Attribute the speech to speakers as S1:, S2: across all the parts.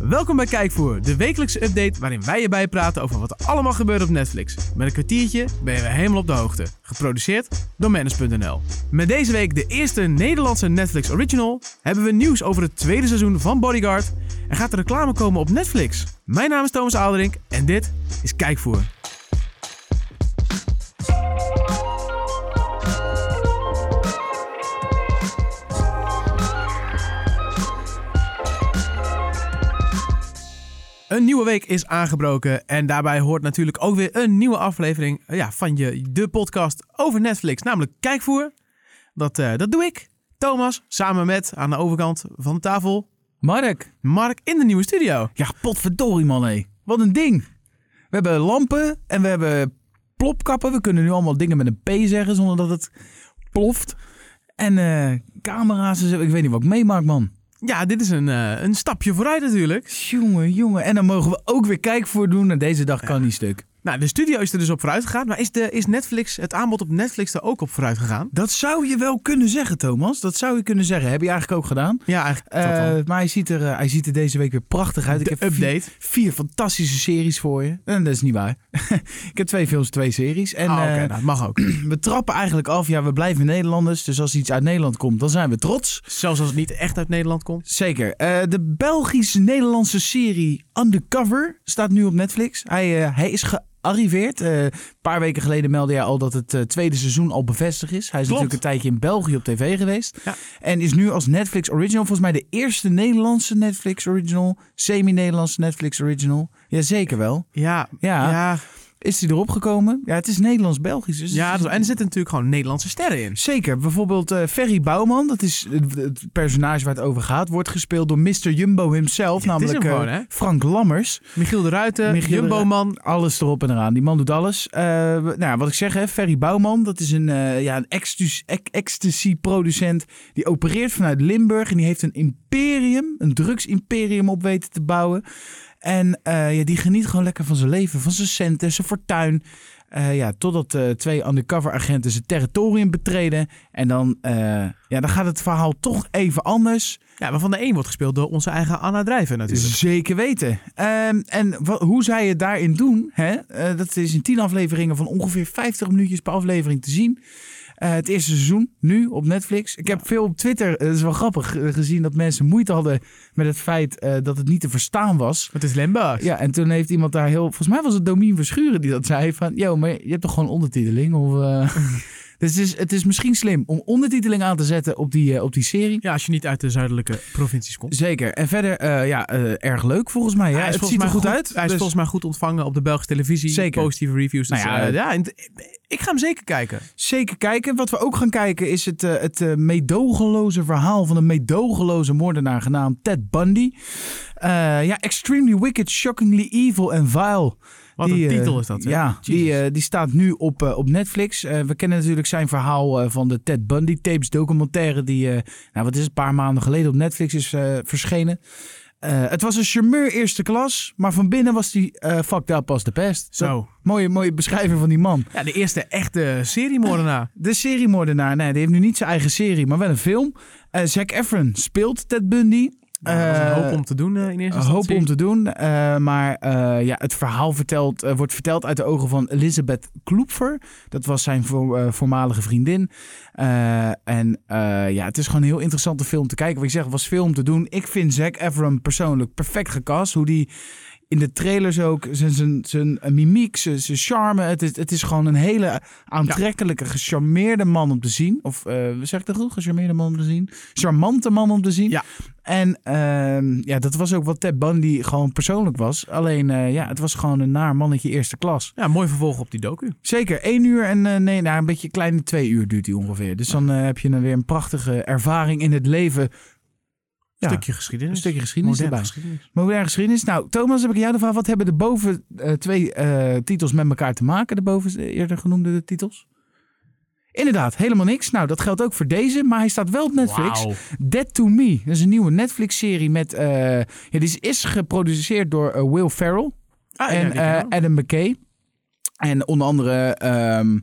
S1: Welkom bij Kijkvoer, de wekelijkse update waarin wij je bijpraten over wat er allemaal gebeurt op Netflix. Met een kwartiertje ben je weer helemaal op de hoogte. Geproduceerd door Manus.nl. Met deze week de eerste Nederlandse Netflix original, hebben we nieuws over het tweede seizoen van Bodyguard en gaat er reclame komen op Netflix. Mijn naam is Thomas Aalderink en dit is Kijkvoer. Een nieuwe week is aangebroken en daarbij hoort natuurlijk ook weer een nieuwe aflevering eh, ja, van je, de podcast over Netflix, namelijk Kijkvoer. Dat, eh, dat doe ik, Thomas, samen met aan de overkant van de tafel
S2: Mark,
S1: Mark in de nieuwe studio.
S2: ja, potverdorie man, hé. Wat een ding. We hebben lampen en we hebben plopkappen. We kunnen nu allemaal dingen met een P zeggen zonder dat het ploft. En eh, camera's en zo. Ik weet niet wat ik meemaak, man.
S1: Ja, dit is een, eh, een stapje vooruit natuurlijk.
S2: Jongen, jongen. En dan mogen we ook weer kijk voor doen. En deze dag kan niet stuk.
S1: Nou, de studio is er dus op vooruit gegaan, maar is, de, is Netflix, het aanbod op Netflix er ook op vooruit gegaan?
S2: Dat zou je wel kunnen zeggen, Thomas. Dat zou je kunnen zeggen. Heb je eigenlijk ook gedaan.
S1: Ja, eigenlijk. is dat wel.
S2: Eh, maar hij ziet, er, eh, hij ziet er deze week weer prachtig uit.
S1: de
S2: ik heb vier,
S1: update.
S2: vier fantastische series voor je. En dat is niet waar. ik heb twee films, twee series. En
S1: Ah, oké,
S2: eh,
S1: nou, dat mag ook.
S2: we trappen eigenlijk af. Ja, we blijven Nederlanders. Dus als iets uit Nederland komt, dan zijn we trots.
S1: Zelfs als het niet echt uit Nederland komt.
S2: Zeker. Eh, de Belgisch-Nederlandse serie Undercover staat nu op Netflix. Hij, eh, hij is gearriveerd. Eh, Een paar weken geleden meldde jij al dat het eh, tweede seizoen al bevestigd is. Hij is
S1: Klopt.
S2: natuurlijk een tijdje in België op tv geweest.
S1: Ja.
S2: En is nu als Netflix original, volgens mij de eerste Nederlandse Netflix original. Semi-Nederlandse Netflix original. Jazeker wel.
S1: Ja,
S2: Ja.
S1: ja,
S2: Is die erop gekomen? Ja, het is Nederlands-Belgisch. Dus
S1: ja,
S2: het is-
S1: dat- en er zitten natuurlijk gewoon Nederlandse sterren in.
S2: Zeker. Bijvoorbeeld eh, Ferry Bouwman, dat is het, het personage waar het over gaat, wordt gespeeld door Mr. Jumbo himself,
S1: Ja, dit is hem
S2: namelijk eh,
S1: gewoon, hè?
S2: Frank Lammers.
S1: Michiel de Ruiten,
S2: Michiel de
S1: Jumbo
S2: Ru-
S1: Man.
S2: Alles erop en eraan. Die man doet alles. Eh, we- nou, ja, wat ik zeg, hè, Ferry Bouwman, dat is een, eh, ja, een ecstas- ec- ecstasy-producent. Die opereert vanuit Limburg en die heeft een imperium, een drugsimperium op weten te bouwen. En eh, ja, die geniet gewoon lekker van zijn leven, van zijn centen, zijn fortuin. Eh, ja, totdat eh, twee undercover agenten zijn territorium betreden. En dan, eh, ja, dan gaat het verhaal toch even anders.
S1: Ja, waarvan de een wordt gespeeld door onze eigen Anna Drijven natuurlijk.
S2: Zeker weten. Ehm, en wa- hoe zij het daarin doen, hè, eh, dat is in tien afleveringen van ongeveer 50 minuutjes per aflevering te zien. Eh, het eerste seizoen, nu op Netflix. Ik heb veel op Twitter, eh, dat is wel grappig, eh, gezien dat mensen moeite hadden met het feit eh, dat het niet te verstaan was.
S1: Het is Limburg.
S2: Ja, en toen heeft iemand daar heel... Volgens mij was het Domien Verschuren die dat zei. Van, yo, maar je hebt toch gewoon ondertiteling? Of, eh, dus het is, het is misschien slim om ondertiteling aan te zetten op die, eh, op die serie.
S1: Ja, als je niet uit de zuidelijke provincies komt.
S2: Zeker. En verder, eh, ja, eh, erg leuk volgens mij. Ja,
S1: Hij is
S2: het
S1: volgens
S2: ziet er
S1: mij
S2: goed, uit.
S1: Hij is
S2: dus-
S1: volgens mij goed ontvangen op de Belgische televisie.
S2: Zeker.
S1: Positieve reviews. Dus,
S2: Nou ja,
S1: eh, ja, en t- ik ga hem zeker kijken.
S2: Zeker kijken. Wat we ook gaan kijken is het, eh, het eh, meedogenloze verhaal van een meedogenloze moordenaar genaamd Ted Bundy. Eh, ja, Extremely Wicked, Shockingly Evil and Vile.
S1: Wat
S2: Die,
S1: een
S2: eh,
S1: titel is dat. hè?
S2: Ja, die,
S1: Jezus.
S2: eh, die staat nu op, eh, op Netflix. Eh, we kennen natuurlijk zijn verhaal eh, van de Ted Bundy tapes documentaire die, eh, nou wat is het, een paar maanden geleden op Netflix is eh, verschenen. Eh, het was een charmeur eerste klas, maar van binnen was die eh fucked up als de pest. Dat-
S1: Zo.
S2: mooie, mooie beschrijving van die man.
S1: Ja, de eerste echte seriemoordenaar.
S2: De seriemoordenaar, nee, die heeft nu niet zijn eigen serie, maar wel een film. Eh Zac Efron speelt Ted Bundy.
S1: Nou, dat was een
S2: Eh,
S1: hoop om te doen eh, in eerste
S2: een hoop
S1: instantie.
S2: om te doen. eh, maar eh, ja, het verhaal vertelt, eh, wordt verteld uit de ogen van Elisabeth Kloepfer. Dat was zijn vo- eh, voormalige vriendin. Eh, en eh, ja, het is gewoon een heel interessante film te kijken. Wat ik zeg, was veel om te doen. Ik vind Zac Efron persoonlijk perfect gecast. Hoe die in de trailers ook, zijn, zijn, zijn mimiek, zijn, zijn charme. Het is, het is gewoon een hele aantrekkelijke, gecharmeerde man om te zien. Of eh zeg ik dat goed? Gecharmeerde man om te zien. Charmante man om te zien.
S1: Ja.
S2: En ehm, ja, dat was ook wat Ted Bundy gewoon persoonlijk was. Alleen eh, ja, het was gewoon een naar mannetje eerste klas.
S1: Ja, mooi vervolg op die docu.
S2: Zeker, één uur en eh, nee, nou, een beetje kleine twee uur duurt die ongeveer. Dus dan eh, heb je dan weer een prachtige ervaring in het leven. Ja,
S1: Stukje geschiedenis.
S2: een stukje geschiedenis
S1: Moderne
S2: erbij.
S1: geschiedenis.
S2: Moderne geschiedenis. Nou, Thomas, heb ik jou de vraag. Wat hebben de boven eh, twee eh, titels met elkaar te maken? De boven eh, eerder genoemde titels? Inderdaad, helemaal niks. Nou, dat geldt ook voor deze, maar hij staat wel op Netflix.
S1: Wauw.
S2: Dead to Me. Dat is een nieuwe Netflix-serie met... eh, ja, die is, is geproduceerd door eh, Will Ferrell
S1: Ah, ja,
S2: en
S1: die ken ik
S2: eh,
S1: wel.
S2: Adam McKay. En onder andere, ehm,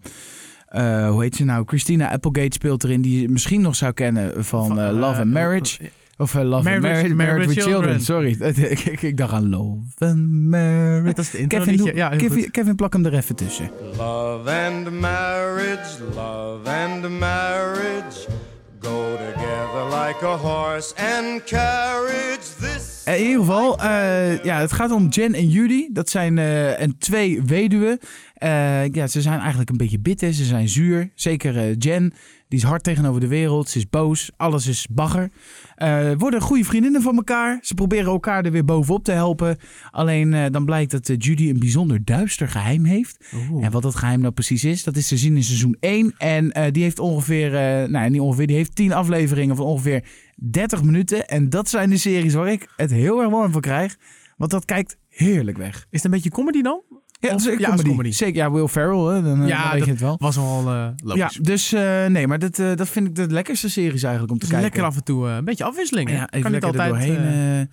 S2: eh, hoe heet ze nou? Christina Applegate speelt erin, die je misschien nog zou kennen van, eh, Love
S1: eh,
S2: and Marriage.
S1: eh,
S2: Of eh, Love
S1: Married
S2: and
S1: with-
S2: Married,
S1: Married
S2: Married
S1: with
S2: with Children. Sorry, ik, ik, ik dacht aan Love and Married.
S1: Dat is het intro
S2: Kevin,
S1: liedje.
S2: doe-
S1: Ja, heel goed.
S2: Kevin, Kevin, plak hem er even tussen.
S3: Love and marriage, love and marriage go together like a horse and carriage. This
S2: Eh, In ieder geval, eh, ja, het gaat om Jen en Judy. Dat zijn eh, en twee weduwen. Eh, ja, ze zijn eigenlijk een beetje bitter, ze zijn zuur. Zeker eh, Jen, die is hard tegenover de wereld. Ze is boos, alles is bagger. Eh, worden goede vriendinnen van elkaar. Ze proberen elkaar er weer bovenop te helpen. Alleen eh, dan blijkt dat eh, Judy een bijzonder duister geheim heeft. En wat dat geheim nou precies is, dat is te zien in seizoen 1. En eh, die heeft ongeveer, eh nou niet ongeveer, die heeft 10 afleveringen van ongeveer 30 minuten. En dat zijn de series waar ik het heel erg warm van krijg. Want dat kijkt heerlijk weg.
S1: Is het een beetje comedy dan?
S2: Ja,
S1: Of-
S2: dat is een
S1: ja,
S2: comedy.
S1: is comedy.
S2: Zeker, ja, Will Ferrell, hè, dan, eh,
S1: Ja,
S2: dan weet
S1: dat-
S2: je het wel.
S1: Was al eh
S2: Ja,
S1: logisch.
S2: dus eh, nee, maar dat, eh, dat vind ik de lekkerste series eigenlijk om te
S1: Dus
S2: kijken.
S1: lekker af en toe eh, een beetje afwisseling. hè?
S2: Ja, even
S1: kan niet
S2: lekker er
S1: altijd
S2: doorheen,
S1: eh,
S2: eh,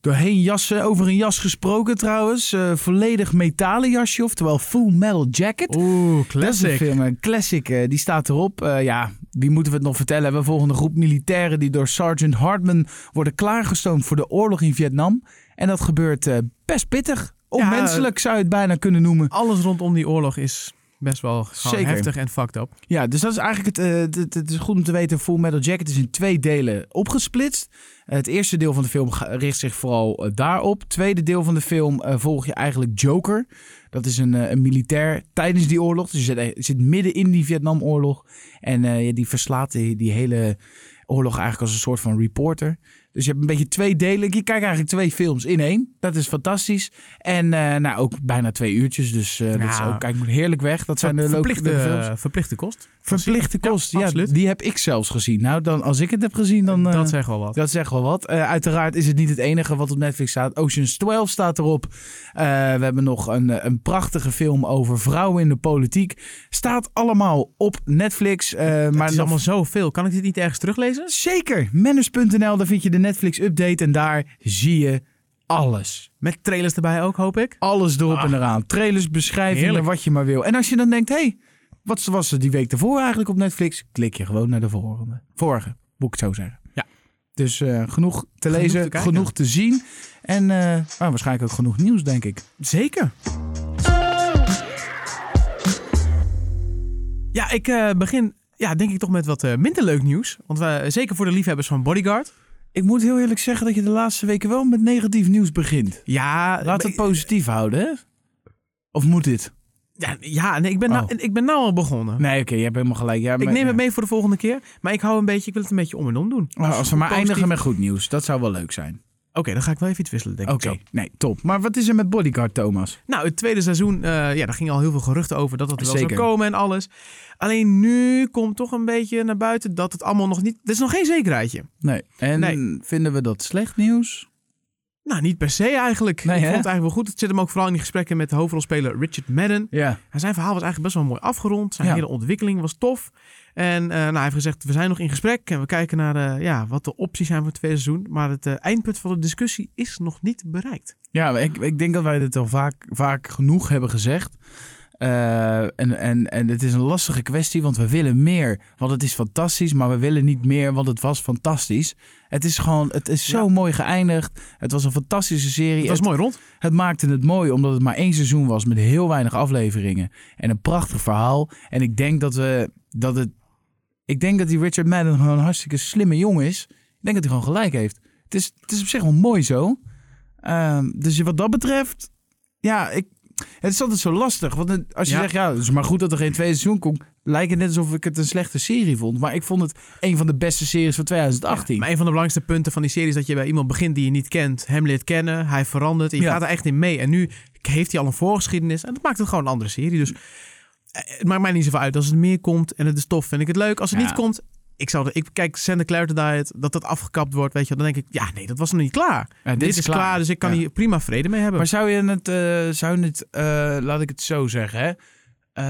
S2: doorheen jassen. Over een jas gesproken trouwens. eh, volledig metalen jasje, oftewel full metal jacket.
S1: Oeh,
S2: Dat is een
S1: classic.
S2: film, een classic. eh, die staat erop. Eh, ja, wie moeten we het nog vertellen? We hebben een volgende groep militairen die door Sergeant Hartman worden klaargestoomd voor de oorlog in Vietnam. En dat gebeurt eh, best pittig. Onmenselijk zou je het bijna kunnen noemen.
S1: Alles rondom die oorlog is best wel gewoon
S2: Zeker.
S1: heftig en fucked up.
S2: Ja, dus dat is eigenlijk het, eh, het, het- het is goed om te weten. Full Metal Jacket is in twee delen opgesplitst. Eh, het eerste deel van de film ga- richt zich vooral eh, daarop. Het tweede deel van de film eh, volg je eigenlijk Joker. Dat is een, eh, een militair tijdens die oorlog. Dus je zit, je zit midden in die Vietnamoorlog. En eh, ja, die verslaat die, die hele oorlog eigenlijk als een soort van reporter. Dus je hebt een beetje twee delen. Je kijkt eigenlijk twee films in één. Dat is fantastisch. En eh, nou, ook bijna twee uurtjes. Dus eh, dat is
S1: Ja.
S2: ook kijk, heerlijk weg. Dat zijn de leuke
S1: verplichte,
S2: films.
S1: verplichte kost.
S2: Verplichte
S1: Ja,
S2: kost, ja,
S1: absoluut.
S2: die heb ik zelfs gezien. Nou, dan, als ik het heb gezien, dan... eh,
S1: dat zegt wel wat.
S2: dat zegt wel wat. Eh, uiteraard is het niet het enige wat op Netflix staat. Ocean's 12 staat erop. Eh, we hebben nog een, eh, een prachtige film over vrouwen in de politiek. Staat allemaal op Netflix. eh, maar
S1: het is
S2: nog-
S1: allemaal zoveel. Kan ik dit niet ergens teruglezen?
S2: Zeker, manners.nl, daar vind je de Netflix-update en daar zie je alles.
S1: Met trailers erbij ook, hoop ik.
S2: Alles erop en eraan. Trailers, beschrijvingen,
S1: Heerlijk.
S2: wat je maar wil. En als je dan denkt, hé, hey, wat was er die week ervoor eigenlijk op Netflix? Klik je gewoon naar de volgende. Vorige, moet ik het zo zeggen.
S1: Ja.
S2: Dus eh, genoeg te
S1: Genoeg
S2: lezen,
S1: te kijken.
S2: genoeg te zien. En eh, ah, waarschijnlijk ook genoeg nieuws, denk ik.
S1: Zeker. Ja, ik eh, begin ja, denk ik toch met wat eh, minder leuk nieuws. Want we, eh, zeker voor de liefhebbers van Bodyguard.
S2: Ik moet heel eerlijk zeggen dat je de laatste weken wel met negatief nieuws begint.
S1: Ja,
S2: Laat
S1: maar-
S2: het positief houden, hè? Of moet dit?
S1: ja, ja nee, ik, ben nou,
S2: Oh.
S1: ik ben nou al begonnen.
S2: Nee, oké, je hebt helemaal gelijk. Ja,
S1: ik
S2: maar-
S1: neem het
S2: ja.
S1: mee voor de volgende keer. Maar ik hou een beetje, ik wil het een beetje om en om doen.
S2: Oh, als we maar
S1: Positief.
S2: eindigen met goed nieuws, dat zou wel leuk zijn.
S1: Oké, dan ga ik wel even iets wisselen, denk
S2: Oké,
S1: ik. Zo.
S2: nee, top. Maar wat is er met Bodyguard, Thomas?
S1: Nou, het tweede seizoen, eh, ja, daar ging al heel veel geruchten over dat het er wel
S2: Zeker.
S1: zou komen en alles. Alleen nu komt toch een beetje naar buiten dat het allemaal nog niet. Er is nog geen zekerheidje.
S2: Nee. En
S1: Nee.
S2: vinden we dat slecht nieuws?
S1: Nou, niet per se eigenlijk.
S2: Nee,
S1: ik
S2: hè?
S1: vond het eigenlijk wel goed. Het zit hem ook vooral in die gesprekken met de hoofdrolspeler Richard Madden.
S2: Ja.
S1: En zijn verhaal was eigenlijk best wel mooi afgerond. Zijn
S2: Ja.
S1: hele ontwikkeling was tof. En eh, nou, hij heeft gezegd, we zijn nog in gesprek en we kijken naar eh, ja, wat de opties zijn voor het tweede seizoen. Maar het eh, eindpunt van de discussie is nog niet bereikt.
S2: Ja, maar ik, ik denk dat wij dit al vaak, vaak genoeg hebben gezegd. Eh, en, en, en het is een lastige kwestie, want we willen meer. Want het is fantastisch, maar we willen niet meer, want het was fantastisch. Het is gewoon, het is zo
S1: Ja.
S2: mooi geëindigd. Het was een fantastische serie.
S1: Het was mooi rond.
S2: Het maakte het mooi omdat het maar één seizoen was met heel weinig afleveringen. En een prachtig verhaal. En ik denk dat we dat het. Ik denk dat die Richard Madden gewoon een hartstikke slimme jongen is. Ik denk dat hij gewoon gelijk heeft. Het is, het is op zich wel mooi zo. Ehm, dus wat dat betreft. Ja, ik, het is altijd zo lastig. Want het- als je
S1: Ja.
S2: zegt, ja, het is maar goed dat er geen tweede seizoen komt. Lijkt het net alsof ik het een slechte serie vond. Maar ik vond het een van de beste series van 2018.
S1: Maar een van de belangrijkste punten van die serie is dat je bij iemand begint die je niet kent, hem leert kennen, hij verandert. En je
S2: Ja.
S1: gaat er echt in mee. En nu heeft hij al een voorgeschiedenis en dat maakt het gewoon een andere serie. Dus eh, het maakt mij niet zoveel uit. Als het meer komt en het is tof, vind ik het leuk. Als het
S2: Ja.
S1: niet komt, ik zou er- ik kijk Santa Clarita Diet, dat dat afgekapt wordt, weet je, wel. dan denk ik, ja, nee, dat was nog niet klaar.
S2: Ja,
S1: dit, is klaar, dus ik kan
S2: Ja.
S1: hier prima vrede mee hebben.
S2: Maar zou je het, eh, zou je het eh, laat ik het zo zeggen, hè? Eh,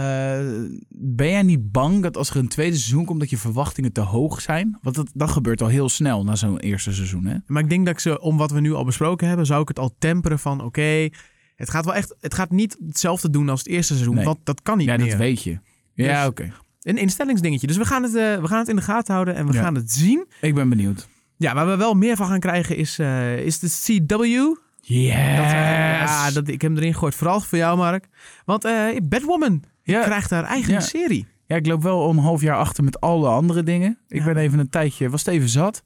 S2: ben jij niet bang dat als er een tweede seizoen komt, dat je verwachtingen te hoog zijn? Want dat, dat gebeurt al heel snel na zo'n eerste seizoen, hè?
S1: Maar ik denk dat ik ze, om wat we nu al besproken hebben, zou ik het al temperen van, oké, het gaat wel echt, het gaat niet hetzelfde doen als het eerste seizoen,
S2: Nee.
S1: want dat kan niet
S2: Ja,
S1: meer.
S2: dat weet je. Ja,
S1: Dus-
S2: oké.
S1: Een instellingsdingetje. Dus we gaan het, eh, we gaan het in de gaten houden en we
S2: Ja.
S1: gaan het zien.
S2: Ik ben benieuwd.
S1: Ja, waar we wel meer van gaan krijgen is, eh, is de CW.
S2: Yes.
S1: Dat, eh, ja, dat, ik heb hem erin gegooid. Vooral voor jou, Mark. Want eh Batwoman
S2: ja.
S1: krijgt haar eigen
S2: Ja.
S1: serie.
S2: ja, ik loop wel om een half jaar achter met alle andere dingen. Ik
S1: Ja.
S2: ben even een tijdje, was het even zat.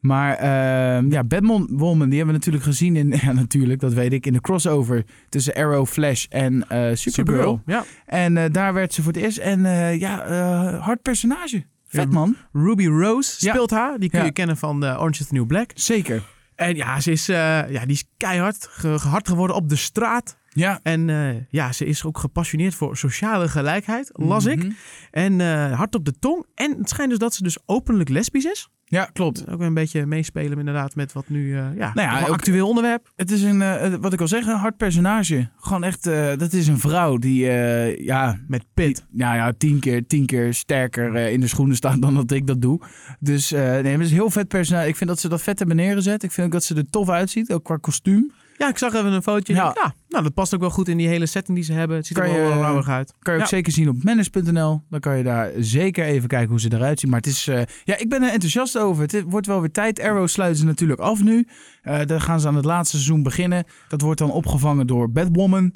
S2: Maar ehm ja, Batman Woman, die hebben we natuurlijk gezien in, ja natuurlijk, dat weet ik, in de crossover tussen Arrow, Flash en eh, Supergirl.
S1: Ja.
S2: En eh, daar werd ze voor het eerst. En eh, ja, eh, hard personage. Vet
S1: Ja.
S2: man.
S1: Ruby Rose
S2: Ja.
S1: speelt haar. Die kun
S2: Ja.
S1: je kennen van eh, Orange is the New Black.
S2: Zeker.
S1: En ja, ze is, eh, ja, die is keihard ge- gehard geworden op de straat.
S2: Ja.
S1: En eh, ja, ze is ook gepassioneerd voor sociale gelijkheid, las ik.
S2: Mhm.
S1: En eh, hard op de tong. En het schijnt dus dat ze dus openlijk lesbisch is.
S2: Ja, klopt.
S1: Dus Ook weer een beetje meespelen inderdaad met wat nu eh, ja,
S2: Nou ja,
S1: een
S2: ook-
S1: actueel onderwerp.
S2: Het is een, eh, wat ik al zeg, een hard personage. Gewoon echt, eh, dat is een vrouw die, eh, ja,
S1: Met pit.
S2: nou ja, tien keer, tien keer sterker eh, in de schoenen staat dan dat ik dat doe. Dus eh, nee, maar het is een heel vet personage. Ik vind dat ze dat vet hebben neergezet. Ik vind ook dat ze er tof uitziet, ook qua kostuum.
S1: Ja, ik zag even een fotootje.
S2: Ja.
S1: Ja. ja, nou dat past ook wel goed in die hele setting die ze hebben. Het ziet er
S2: Kan
S1: wel
S2: je-
S1: wel rauwig uit.
S2: Kan je ook
S1: Ja.
S2: zeker zien op manage.nl. Dan kan je daar zeker even kijken hoe ze eruit zien. Maar het is, eh, ja, ik ben er enthousiast over. Het wordt wel weer tijd. Arrow sluiten ze natuurlijk af nu. Eh dan gaan ze aan het laatste seizoen beginnen. Dat wordt dan opgevangen door Batwoman.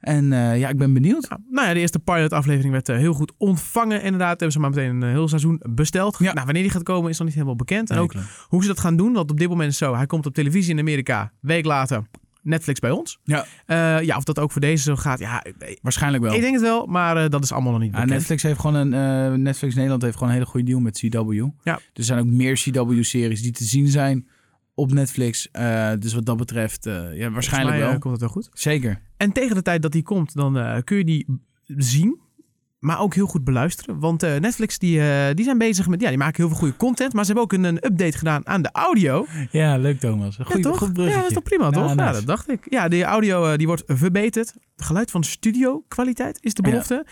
S2: En eh, ja, ik ben benieuwd.
S1: Ja, nou ja, de eerste pilot-aflevering werd eh, heel goed ontvangen. Inderdaad, hebben ze maar meteen een eh, heel seizoen besteld.
S2: Ja.
S1: Nou, wanneer die gaat komen is nog niet helemaal bekend. En ook
S2: Ook-
S1: hoe ze dat gaan doen, want op dit moment is het zo. Hij komt op televisie in Amerika, week later Netflix bij ons.
S2: Ja.
S1: Eh, ja, of dat ook voor deze zo gaat, ja, ik-
S2: Waarschijnlijk wel.
S1: ik denk het wel, maar eh, dat is allemaal nog niet
S2: Ja,
S1: bekend.
S2: Netflix heeft gewoon een eh, Netflix Nederland heeft gewoon een hele goede deal met CW.
S1: Ja.
S2: Er zijn ook meer CW-series die te zien zijn op Netflix. Eh, dus wat dat betreft, eh, ja, waarschijnlijk
S1: Volgens mij,
S2: wel.
S1: eh, komt het wel goed.
S2: Zeker.
S1: En tegen de tijd dat die komt, dan eh, kun je die zien. Maar ook heel goed beluisteren. Want eh, Netflix die, eh, die zijn bezig met. Ja, die maken heel veel goede content. Maar ze hebben ook een, een update gedaan aan de audio.
S2: Ja, leuk Thomas. Goed,
S1: ja, toch? ja, dat is toch prima, toch? Ja, dat dacht ik. Ja, de audio eh, die wordt verbeterd. Het geluid van studio kwaliteit is de
S2: Ja.
S1: belofte.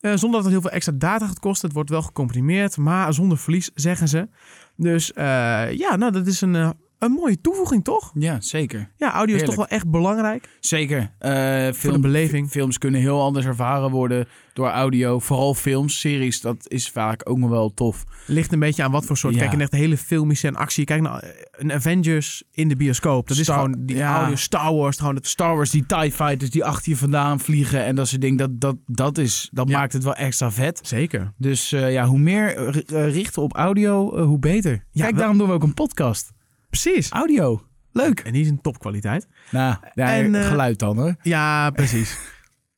S1: Eh, zonder dat het heel veel extra data gaat kosten. Het wordt wel gecomprimeerd, maar zonder verlies, zeggen ze. Dus eh, ja, nou, dat is een, eh, een mooie toevoeging, toch?
S2: Ja, zeker.
S1: Ja, audio is
S2: Heerlijk.
S1: toch wel echt belangrijk
S2: Zeker. Eh
S1: voor de
S2: film,
S1: beleving.
S2: films kunnen heel anders ervaren worden door audio. Vooral films, series, dat is vaak ook nog wel tof.
S1: Ligt een beetje aan wat voor soort.
S2: Ja.
S1: Kijk, een echt hele filmische en actie. Kijk naar eh, een Avengers in de bioscoop. Dat is
S2: Star-
S1: gewoon die
S2: ja.
S1: oude Star Wars. Gewoon het,
S2: Star Wars, die TIE fighters die achter je vandaan vliegen en dat soort dingen. Dat, dat, dat, is, dat
S1: Ja.
S2: maakt het wel extra vet.
S1: Zeker.
S2: Dus eh, ja, hoe meer eh, eh, richten op audio, eh, hoe beter. Kijk,
S1: wel-
S2: daarom doen we ook een podcast.
S1: Precies.
S2: Audio. Leuk.
S1: En die is een topkwaliteit.
S2: Nou, ja,
S1: En, eh,
S2: geluid dan hoor.
S1: Ja, precies.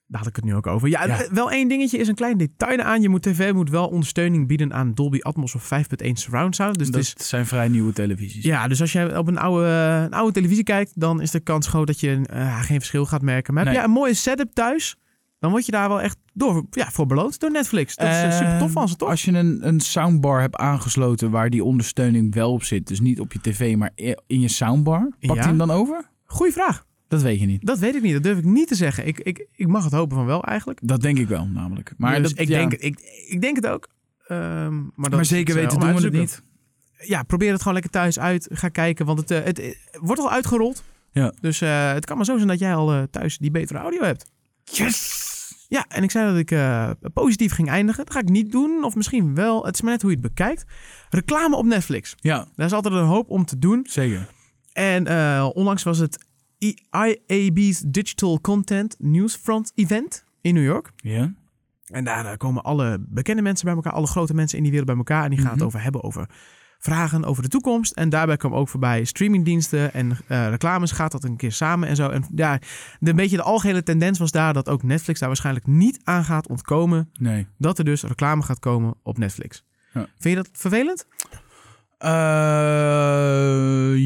S1: Daar had ik het nu ook over. Ja,
S2: Ja.
S1: eh, wel één dingetje is een klein detail aan. Je moet tv moet wel ondersteuning bieden aan Dolby Atmos of 5.1 surround sound. Dus
S2: Dus
S1: het is,
S2: zijn vrij nieuwe televisies.
S1: ja, dus als je op een oude, eh, een oude televisie kijkt, dan is de kans groot dat je eh, geen verschil gaat merken. Maar heb
S2: Nee.
S1: jij een mooie setup thuis, dan word je daar wel echt door, ja, voor beloond door Netflix. Dat is eh,
S2: Eh,
S1: super tof van ze, toch?
S2: Als je een, een soundbar hebt aangesloten waar die ondersteuning wel op zit, dus niet op je tv, maar i- in je soundbar, pakt
S1: Ja.
S2: hij hem dan over?
S1: Goeie vraag.
S2: Dat weet je niet.
S1: Dat weet ik niet. Dat durf ik niet te zeggen. Ik, ik, ik mag het hopen van wel eigenlijk.
S2: Dat denk ik wel, namelijk. Maar,
S1: Maar
S2: dat,
S1: Dus ik,
S2: ja.
S1: denk, ik, ik denk het ook. Ehm, maar, dat
S2: maar
S1: is,
S2: zeker
S1: eh,
S2: weten
S1: om
S2: doen
S1: uit
S2: we
S1: te
S2: het
S1: zoeken.
S2: niet.
S1: ja, probeer het gewoon lekker thuis uit. Ga kijken, want het, eh, het, eh, wordt al uitgerold.
S2: Ja.
S1: Dus eh, het kan maar zo zijn dat jij al eh, thuis die betere audio hebt.
S2: Yes!
S1: Ja, en ik zei dat ik eh, positief ging eindigen. Dat ga ik niet doen, of misschien wel. Het is maar net hoe je het bekijkt. Reclame op Netflix.
S2: Ja,
S1: Daar is altijd een hoop om te doen.
S2: zeker.
S1: En eh, onlangs was het E I- IAB's Digital Content Newsfront Event in New York.
S2: Ja.
S1: En daar eh, komen alle bekende mensen bij elkaar, alle grote mensen in die wereld bij elkaar. En die gaan
S2: Mhm.
S1: het over hebben over vragen over de toekomst. En daarbij kwam ook voorbij streamingdiensten en eh, reclames. Gaat dat een keer samen en zo. En ja, de, een beetje de algehele tendens was daar dat ook Netflix daar waarschijnlijk niet aan gaat ontkomen.
S2: Nee.
S1: Dat er dus reclame gaat komen op Netflix.
S2: Ja.
S1: Vind je dat vervelend?
S2: Eh,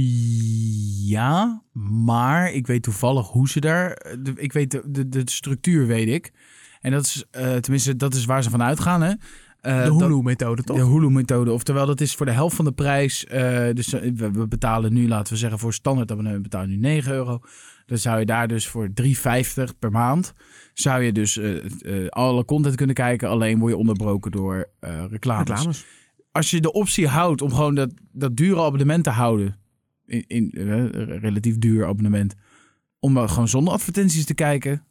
S2: ja, maar ik weet toevallig hoe ze daar. de- ik weet de, de, de structuur, weet ik. En dat is, eh, tenminste, dat is waar ze van uitgaan, hè? Eh,
S1: de
S2: dat-
S1: Hulu-methode toch?
S2: de Hulu-methode. Oftewel, dat is voor de helft van de prijs. eh, dus eh, we, we betalen nu, laten we zeggen, voor standaard abonnement betalen we nu 9 euro. Dan zou je daar dus voor 3,50 per maand... zou je dus eh, eh, alle content kunnen kijken. Alleen word je onderbroken door eh reclames
S1: reclames.
S2: als je de optie houdt om gewoon dat, dat dure abonnement te houden, in, in eh, een relatief duur abonnement, om maar gewoon zonder advertenties te kijken,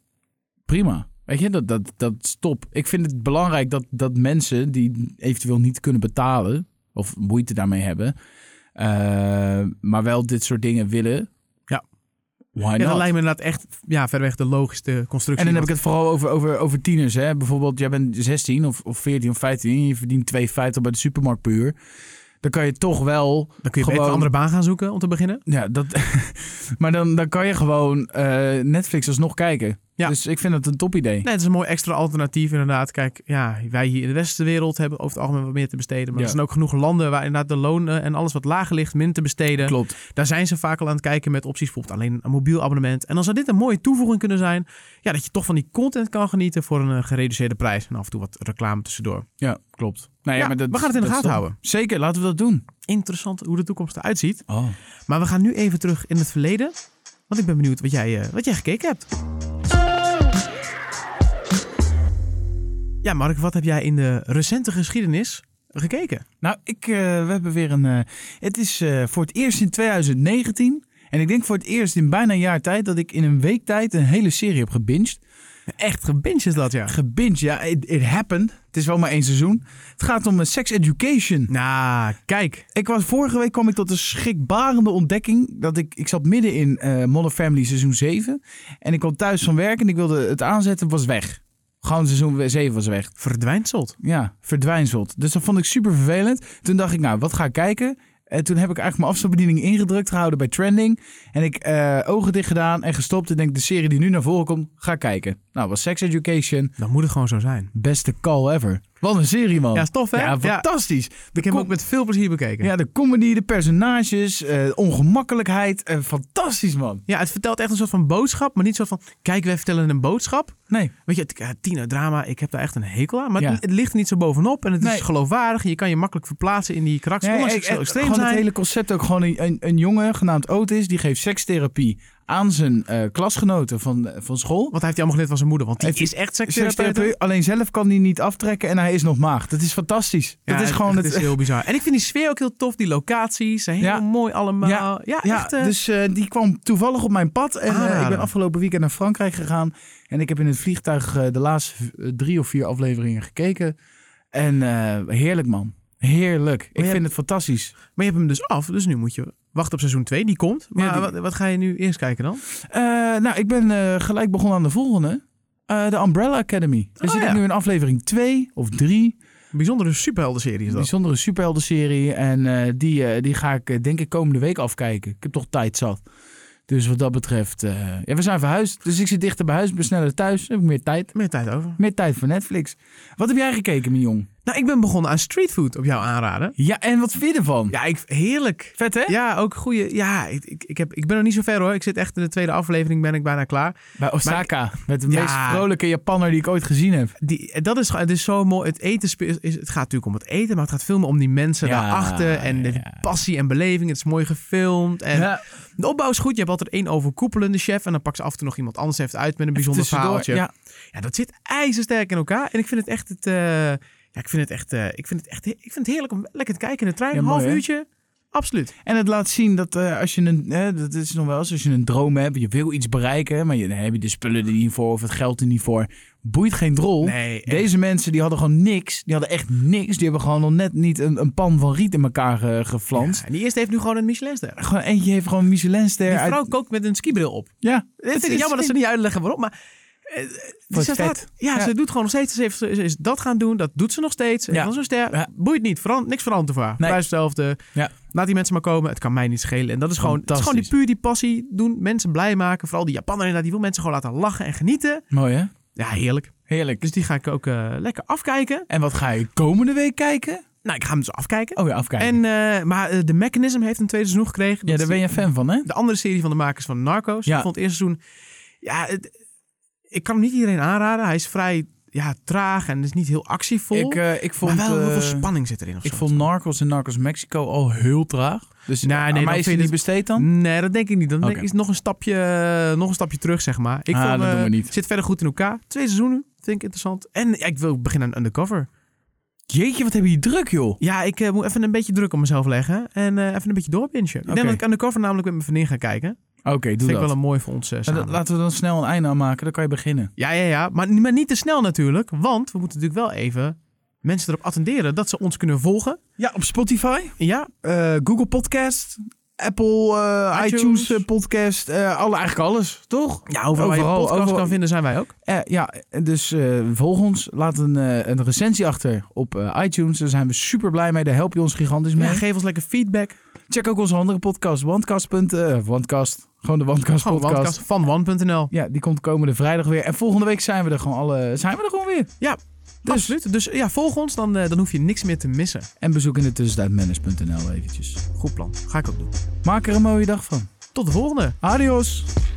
S2: prima. Weet je, dat, dat, dat is top. Ik vind het belangrijk dat, dat mensen die eventueel niet kunnen betalen, of moeite daarmee hebben, eh, maar wel dit soort dingen willen.
S1: Ja.
S2: Why
S1: Ja, dat
S2: not?
S1: lijkt me inderdaad echt ja, verreweg de logische constructie.
S2: En dan heb ik
S1: Want-
S2: het vooral over, over, over tieners. Hè? Bijvoorbeeld, jij bent 16 of, of 14 of 15 en je verdient 2,50 bij de supermarkt per uur. Dan kan je toch
S1: dan
S2: wel...
S1: kun je beter
S2: gewoon-
S1: een andere baan gaan zoeken om te beginnen.
S2: Ja, dat, maar dan, dan kan je gewoon eh, Netflix alsnog kijken.
S1: Ja.
S2: Dus ik vind dat een top idee.
S1: Nee, het is een mooi extra alternatief inderdaad. Kijk, ja, wij hier in de westerse wereld hebben over het algemeen wat meer te besteden. Maar
S2: Ja.
S1: er zijn ook genoeg landen waar inderdaad de lonen en alles wat lager ligt min te besteden.
S2: Klopt.
S1: Daar zijn ze vaak al aan het kijken met opties, bijvoorbeeld alleen een mobiel abonnement. En dan zou dit een mooie toevoeging kunnen zijn. Ja, dat je toch van die content kan genieten voor een eh, gereduceerde prijs. En af en toe wat reclame tussendoor.
S2: Ja, klopt. Nou
S1: Ja, we gaan het in de
S2: dat is
S1: gaten
S2: top.
S1: houden.
S2: Zeker, laten we dat doen.
S1: Interessant hoe de toekomst eruit ziet.
S2: Oh.
S1: Maar we gaan nu even terug in het verleden. Want ik ben benieuwd wat jij, eh, wat jij gekeken hebt. Ja, Mark, wat heb jij in de recente geschiedenis gekeken?
S2: Nou, ik, eh, we hebben weer een. eh, het is eh, voor het eerst in 2019. En ik denk voor het eerst in bijna een jaar tijd dat ik in een week tijd een hele serie heb gebinged.
S1: Echt gebinge is dat, ja.
S2: Gebinged, ja, it, it happened. Het is wel maar één seizoen. Het gaat om eh, Sex Education.
S1: Nou, kijk.
S2: Ik was, vorige week kwam ik tot de schrikbarende ontdekking dat ik, ik zat midden in eh Modern Family seizoen 7. En ik kwam thuis van werk en ik wilde het aanzetten, was weg. Gewoon seizoen 7 was weg.
S1: Verdwijnt zot.
S2: Ja, verdwijnzelt. Dus dat vond ik super vervelend. Toen dacht ik, nou, wat ga ik kijken? En toen heb ik eigenlijk mijn afstandsbediening ingedrukt gehouden bij trending. En ik eh, ogen dicht gedaan en gestopt. En denk, de serie die nu naar voren komt, ga ik kijken. Nou, was Sex Education.
S1: Dan moet het gewoon zo zijn.
S2: Beste call ever. Wat een serie, man.
S1: Oh. Ja, is tof, hè?
S2: Ja, fantastisch.
S1: Ik heb hem
S2: Kom-
S1: ook met veel plezier bekeken.
S2: Ja, de comedy, de personages, eh, ongemakkelijkheid. eh, fantastisch, man.
S1: Ja, het vertelt echt een soort van boodschap, maar niet zo van, kijk, wij vertellen een boodschap.
S2: Nee,
S1: Weet je, het- ja, tienerdrama, ik heb daar echt een hekel aan. Maar
S2: Ja.
S1: het, het ligt er niet zo bovenop en het
S2: Nee.
S1: is geloofwaardig. en Je kan je makkelijk verplaatsen in die karakters,
S2: Nee,
S1: ondanks
S2: ik-
S1: dat ze zo
S2: echt,
S1: extreem
S2: gewoon
S1: zijn.
S2: het hele concept ook gewoon een, een, een jongen genaamd Otis die geeft sekstherapie aan zijn eh, klasgenoten van, eh, van school.
S1: Want hij heeft die allemaal geleerd van zijn moeder, want die
S2: Heeft
S1: is echt seksueel.
S2: Sekstherapie, alleen zelf kan hij niet aftrekken en hij is nog maagd. Dat is fantastisch. dat is gewoon
S1: het,
S2: het. eh,
S1: is heel bizar. En ik vind die sfeer ook heel tof, die locaties zijn heel
S2: Ja.
S1: mooi allemaal. Ja,
S2: ja,
S1: echt. eh, Ah.
S2: dus eh, die kwam toevallig op mijn pad. En eh, ik ben
S1: Aanrader.
S2: afgelopen weekend naar Frankrijk gegaan. En ik heb in het vliegtuig eh, de laatste eh, drie of vier afleveringen gekeken. En eh, heerlijk, man. Heerlijk. Ik
S1: je
S2: vind
S1: hebt-
S2: het fantastisch.
S1: Maar je hebt hem dus af, dus nu moet je wachten op seizoen 2, die komt. Maar
S2: Ja, die-
S1: Wat, wat ga je nu eerst kijken dan?
S2: Eh, nou, ik ben eh, gelijk begonnen aan de volgende. Eh, de Umbrella Academy. We
S1: Oh,
S2: zitten
S1: ja.
S2: nu in aflevering 2 of 3.
S1: Een bijzondere superheldenserie is dat.
S2: Bijzondere superheldenserie. En eh, die, eh, die ga ik eh, denk ik komende week afkijken. Ik heb toch tijd zat. Dus wat dat betreft... eh, ja, we zijn verhuisd. Dus ik zit dichter bij huis. Ik ben sneller thuis. Heb ik meer tijd.
S1: Meer tijd over.
S2: Meer tijd voor Netflix. Wat heb jij gekeken, mijn jong?
S1: Nou, ik ben begonnen aan streetfood op jouw aanraden.
S2: Ja, en wat vind je ervan?
S1: Ja, ik, heerlijk.
S2: Vet, hè?
S1: Ja, ook goede. Ja, ik, ik, ik, heb, ik ben nog niet zo ver hoor. Ik zit echt in de tweede aflevering, ben ik bijna klaar.
S2: Bij Osaka. Met de
S1: Ja.
S2: meest vrolijke Japanner die ik ooit gezien heb.
S1: Die, dat is, het is zo mooi. Het eten spe- is, het gaat natuurlijk om het eten, maar het gaat veel meer om die mensen
S2: Ja,
S1: daarachter. En de
S2: ja.
S1: passie en beleving. Het is mooi gefilmd. En
S2: Ja,
S1: De opbouw is goed. Je hebt altijd één overkoepelende chef. En dan pakt ze af en toe nog iemand anders even uit met een bijzonder
S2: tussendoor,
S1: verhaaltje. Ja.
S2: Ja,
S1: dat zit ijzersterk in elkaar. En ik vind het echt het. eh, ja, ik vind het echt. eh, ik vind het echt. he- Ik vind het heerlijk om lekker te kijken in de trein.
S2: Ja,
S1: een half
S2: mooi, hè?
S1: uurtje. Absoluut.
S2: En het laat zien dat eh, als je een, eh, dat is nog wel eens, als je een droom hebt, je wil iets bereiken, maar je, dan heb je de spullen er niet voor of het geld er niet voor. Boeit geen drol.
S1: Nee, eh, echt.
S2: Deze mensen die hadden gewoon niks, die hadden echt niks. Die hebben gewoon nog net niet een, een pan van riet in elkaar ge- geflanst.
S1: Ja, en die eerste heeft nu gewoon een Michelinster.
S2: Gewoon eentje heeft gewoon een Michelinster.
S1: Die
S2: uit-
S1: vrouw kookt met een skibril op.
S2: Ja.
S1: Dit
S2: Het
S1: vind ik
S2: is-
S1: jammer dat ze niet uitleggen waarom. Maar. eh,
S2: Wordt
S1: ze
S2: vet.
S1: staat- ja,
S2: Ja.
S1: ze doet gewoon nog steeds. Ze, heeft, ze is dat gaan doen. Dat doet ze nog steeds. En
S2: Ja.
S1: dan zo'n ster.
S2: Ja.
S1: Boeit niet. Verand, niks verandert ervoor.
S2: Nee.
S1: Blijft hetzelfde.
S2: Ja.
S1: Laat die mensen maar komen. Het kan mij niet schelen. En dat is gewoon, het is gewoon die,
S2: Fantastisch.
S1: puur die passie doen. Mensen blij maken. Vooral die Japaner inderdaad. Die wil mensen gewoon laten lachen en genieten.
S2: Mooi hè?
S1: Ja, heerlijk.
S2: Heerlijk.
S1: Dus die ga ik ook eh, lekker afkijken.
S2: En wat ga je komende week kijken?
S1: Nou, ik ga hem dus afkijken.
S2: Oh ja, afkijken.
S1: En, eh, maar eh, The Mechanism heeft een tweede seizoen gekregen.
S2: ja,
S1: Dat
S2: daar
S1: is
S2: ben je fan van hè?
S1: De andere serie van de makers van Narcos.
S2: Ja.
S1: Ik vond het eerste seizoen... Ja, het- ik kan hem niet iedereen aanraden. Hij is vrij ja, traag en is niet heel actievol.
S2: Ik, eh, ik vond,
S1: maar wel heel
S2: eh,
S1: veel spanning zit erin of
S2: ik
S1: zo.
S2: vond Narcos en Narcos Mexico al heel traag. Dus
S1: Nou, Nee,
S2: aan
S1: nee, dan
S2: mij is
S1: vind
S2: het
S1: je
S2: niet
S1: het-
S2: besteed dan?
S1: Nee, dat denk ik niet. Dan denk
S2: Oké.
S1: ik is het nog een stapje, eh, nog een stapje terug, zeg maar. Ik
S2: Ah,
S1: vond,
S2: dat
S1: eh,
S2: doen we niet.
S1: Zit verder goed in elkaar. Twee seizoenen, vind ik interessant. En ja, ik wil beginnen aan Undercover.
S2: Jeetje, wat heb je druk joh.
S1: Ja, ik eh, moet even een beetje druk op mezelf leggen. En eh, even een beetje doorbingen. Ik
S2: Oké.
S1: denk dat ik Undercover namelijk met mijn vriendin ga kijken.
S2: Oké, doe
S1: vind
S2: dat.
S1: ik wel een mooi voor ons eh,
S2: Maar
S1: samen.
S2: dat- laten we dan snel een einde aan maken, dan kan je beginnen.
S1: Ja, ja, ja. Maar, maar niet te snel natuurlijk. Want we moeten natuurlijk wel even mensen erop attenderen dat ze ons kunnen volgen.
S2: Ja, op Spotify,
S1: Ja,
S2: eh, Google Podcast, Apple, eh,
S1: iTunes.
S2: iTunes, eh, Podcast, eh, alle, eigenlijk alles, toch?
S1: ja overal, waar je
S2: Overal,
S1: podcast
S2: overal.
S1: kan vinden zijn wij ook.
S2: Eh, ja, dus eh, volg ons. Laat een, eh, een recensie achter op eh, iTunes. Daar zijn we super blij mee. Daar help je ons gigantisch mee.
S1: Ja, geef ons lekker feedback.
S2: Check ook onze andere podcast. Wandcast. eh, Wandcast. Gewoon de Wandcast
S1: Gewoon Wandcast
S2: podcast.
S1: van one.nl.
S2: Ja, die komt komende vrijdag weer. En volgende week zijn we er gewoon, alle, zijn we er gewoon weer.
S1: Ja, dus. absoluut. Dus ja, volg ons, dan, eh, dan hoef je niks meer te missen.
S2: En bezoek in de tussentijd manage.nl eventjes.
S1: Goed plan. Ga ik ook doen.
S2: Maak er een mooie dag van.
S1: Tot de volgende.
S2: Adios.